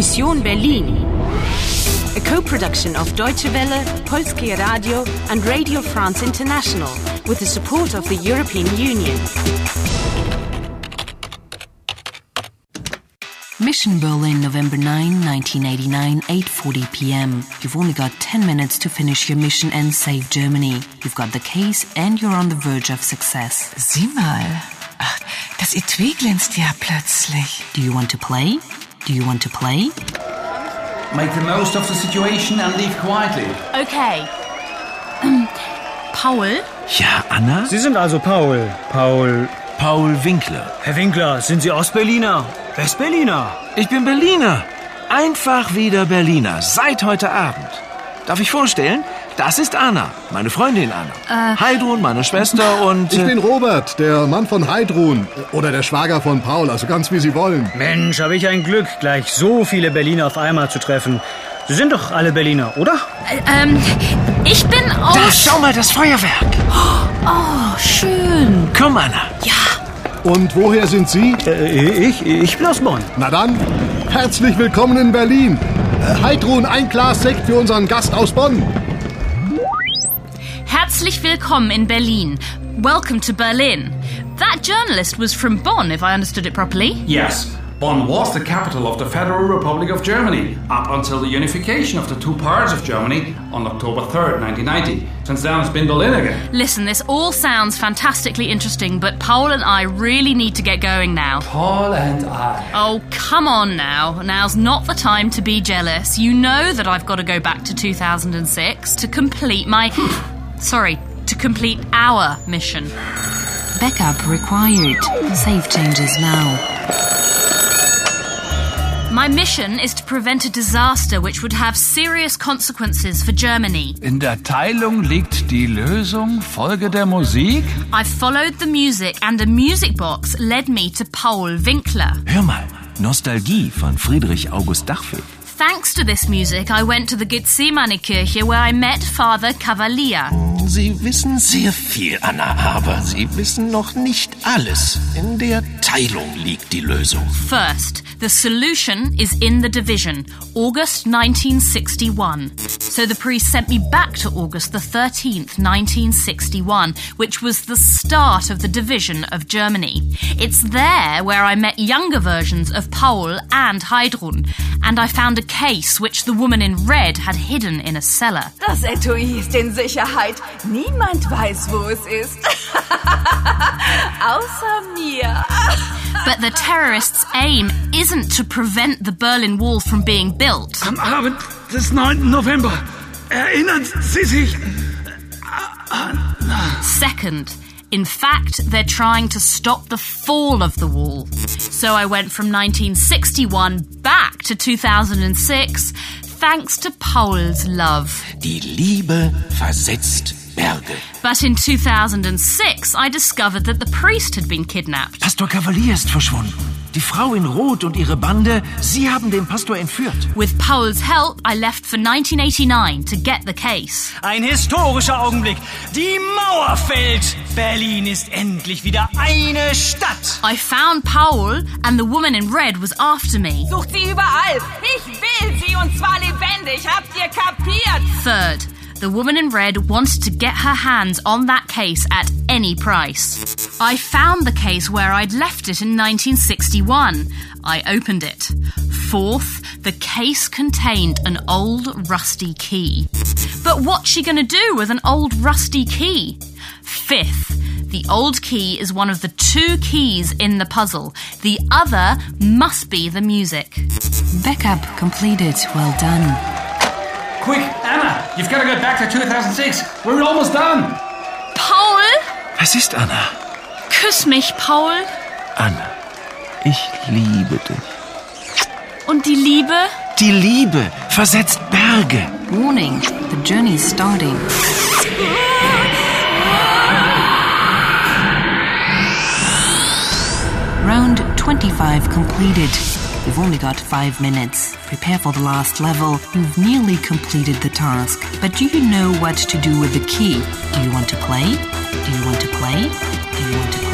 Mission Berlin. A co-production of Deutsche Welle, Polskie Radio and Radio France International with the support of the European Union. Mission Berlin, November 9, 1989, 8:40 p.m. You've only got 10 minutes to finish your mission and save Germany. You've got the case and you're on the verge of success. Sieh mal. Ach, das Etui glänzt ja plötzlich. Do you want to play? Do you want to play? Make the most of the situation and leave quietly. Okay. Ähm, Paul? Ja, Anna? Sie sind also Paul. Paul. Paul Winkler. Herr Winkler, sind Sie Ostberliner? Westberliner? Ich bin Berliner. Einfach wieder Berliner. Seit heute Abend. Darf ich vorstellen? Das ist Anna, meine Freundin Äh. Anna. Heidrun, meine Schwester und... Ich äh, bin Robert, der Mann von Heidrun. Oder der Schwager von Paul, also ganz wie Sie wollen. Mensch, habe ich ein Glück, gleich so viele Berliner auf einmal zu treffen. Sie sind doch alle Berliner, oder? Ä- Ähm, ich bin da, aus. schau mal, das Feuerwerk. Oh, schön. Komm, Anna. Und woher sind Sie? Äh, ich, ich bin aus Bonn. Na dann, herzlich willkommen in Berlin. Äh, Heidrun, ein Glas Sekt für unseren Gast aus Bonn. Herzlich willkommen in Berlin. Welcome to Berlin. That journalist was from Bonn, if I understood it properly. Yes, Bonn was the capital of the Federal Republic of Germany up until the unification of the two parts of Germany on October 3rd, 1990. Since then, it's been Berlin again. Listen, this all sounds fantastically interesting, but Paul and I really need to get going now. Paul and I. Oh, come on now. Now's not the time to be jealous. You know that I've got to go back to 2006 to complete my. sorry, to complete our mission. Backup required. Save changes now. My mission is to prevent a disaster which would have serious consequences for Germany. In der Teilung liegt die Lösung. Folge der Musik. I followed the music, and a music box led me to Paul Winkler. Hör mal. Nostalgie von Friedrich August Dachfeld. Thanks to this music, I went to the Gethsemane Kirche where I met Father Cavalier. Sie wissen sehr viel, Anna, aber Sie wissen noch nicht alles. In der Teilung liegt die Lösung. First, the solution is in the division, August 1961. So the priest sent me back to August the 13th, 1961, which was the start of the division of Germany. It's there where I met younger versions of Paul and Heidrun, and I found a case which the woman in red had hidden in a cellar. Das Etui ist in Sicherheit. Niemand weiß, wo es ist. Außer mir. But the terrorists' aim isn't to prevent the Berlin Wall from being built. Am Abend des 9. November. Erinnern Sie sich? Second, in fact, they're trying to stop the fall of the wall. So I went from 1961 back to 2006 thanks to Paul's love. Die Liebe versetzt Berge. But in 2006, I discovered that the priest had been kidnapped. Pastor Cavalier ist verschwunden. Die Frau in Rot und ihre Bande, sie haben den Pastor entführt. With Paul's help, I left for 1989 to get the case. Ein historischer Augenblick. Die Mauer fällt. Berlin ist endlich wieder eine Stadt. I found Paul, and the woman in red was after me. Sucht sie überall. Ich will sie und zwar lebendig. Habt ihr kapiert? Third, the woman in red wanted to get her hands on that case at any price. I found the case where I'd left it in 1961. I opened it. Fourth, the case contained an old rusty key. But what's she going to do with an old rusty key? Fifth, the old key is one of the two keys in the puzzle. The other must be the music. Backup completed. Well done. Quick, Anna, you've got to get back to 2006. We're almost done. Paul? Was ist, Anna? Küss mich, Paul. Anna, ich liebe dich. Und die Liebe? Die Liebe versetzt Berge. Warning. The journey is starting. Round 25 completed. You've only got five minutes. Prepare for the last level. You've nearly completed the task. But do you know what to do with the key? Do you want to play? Do you want to play? Do you want to play?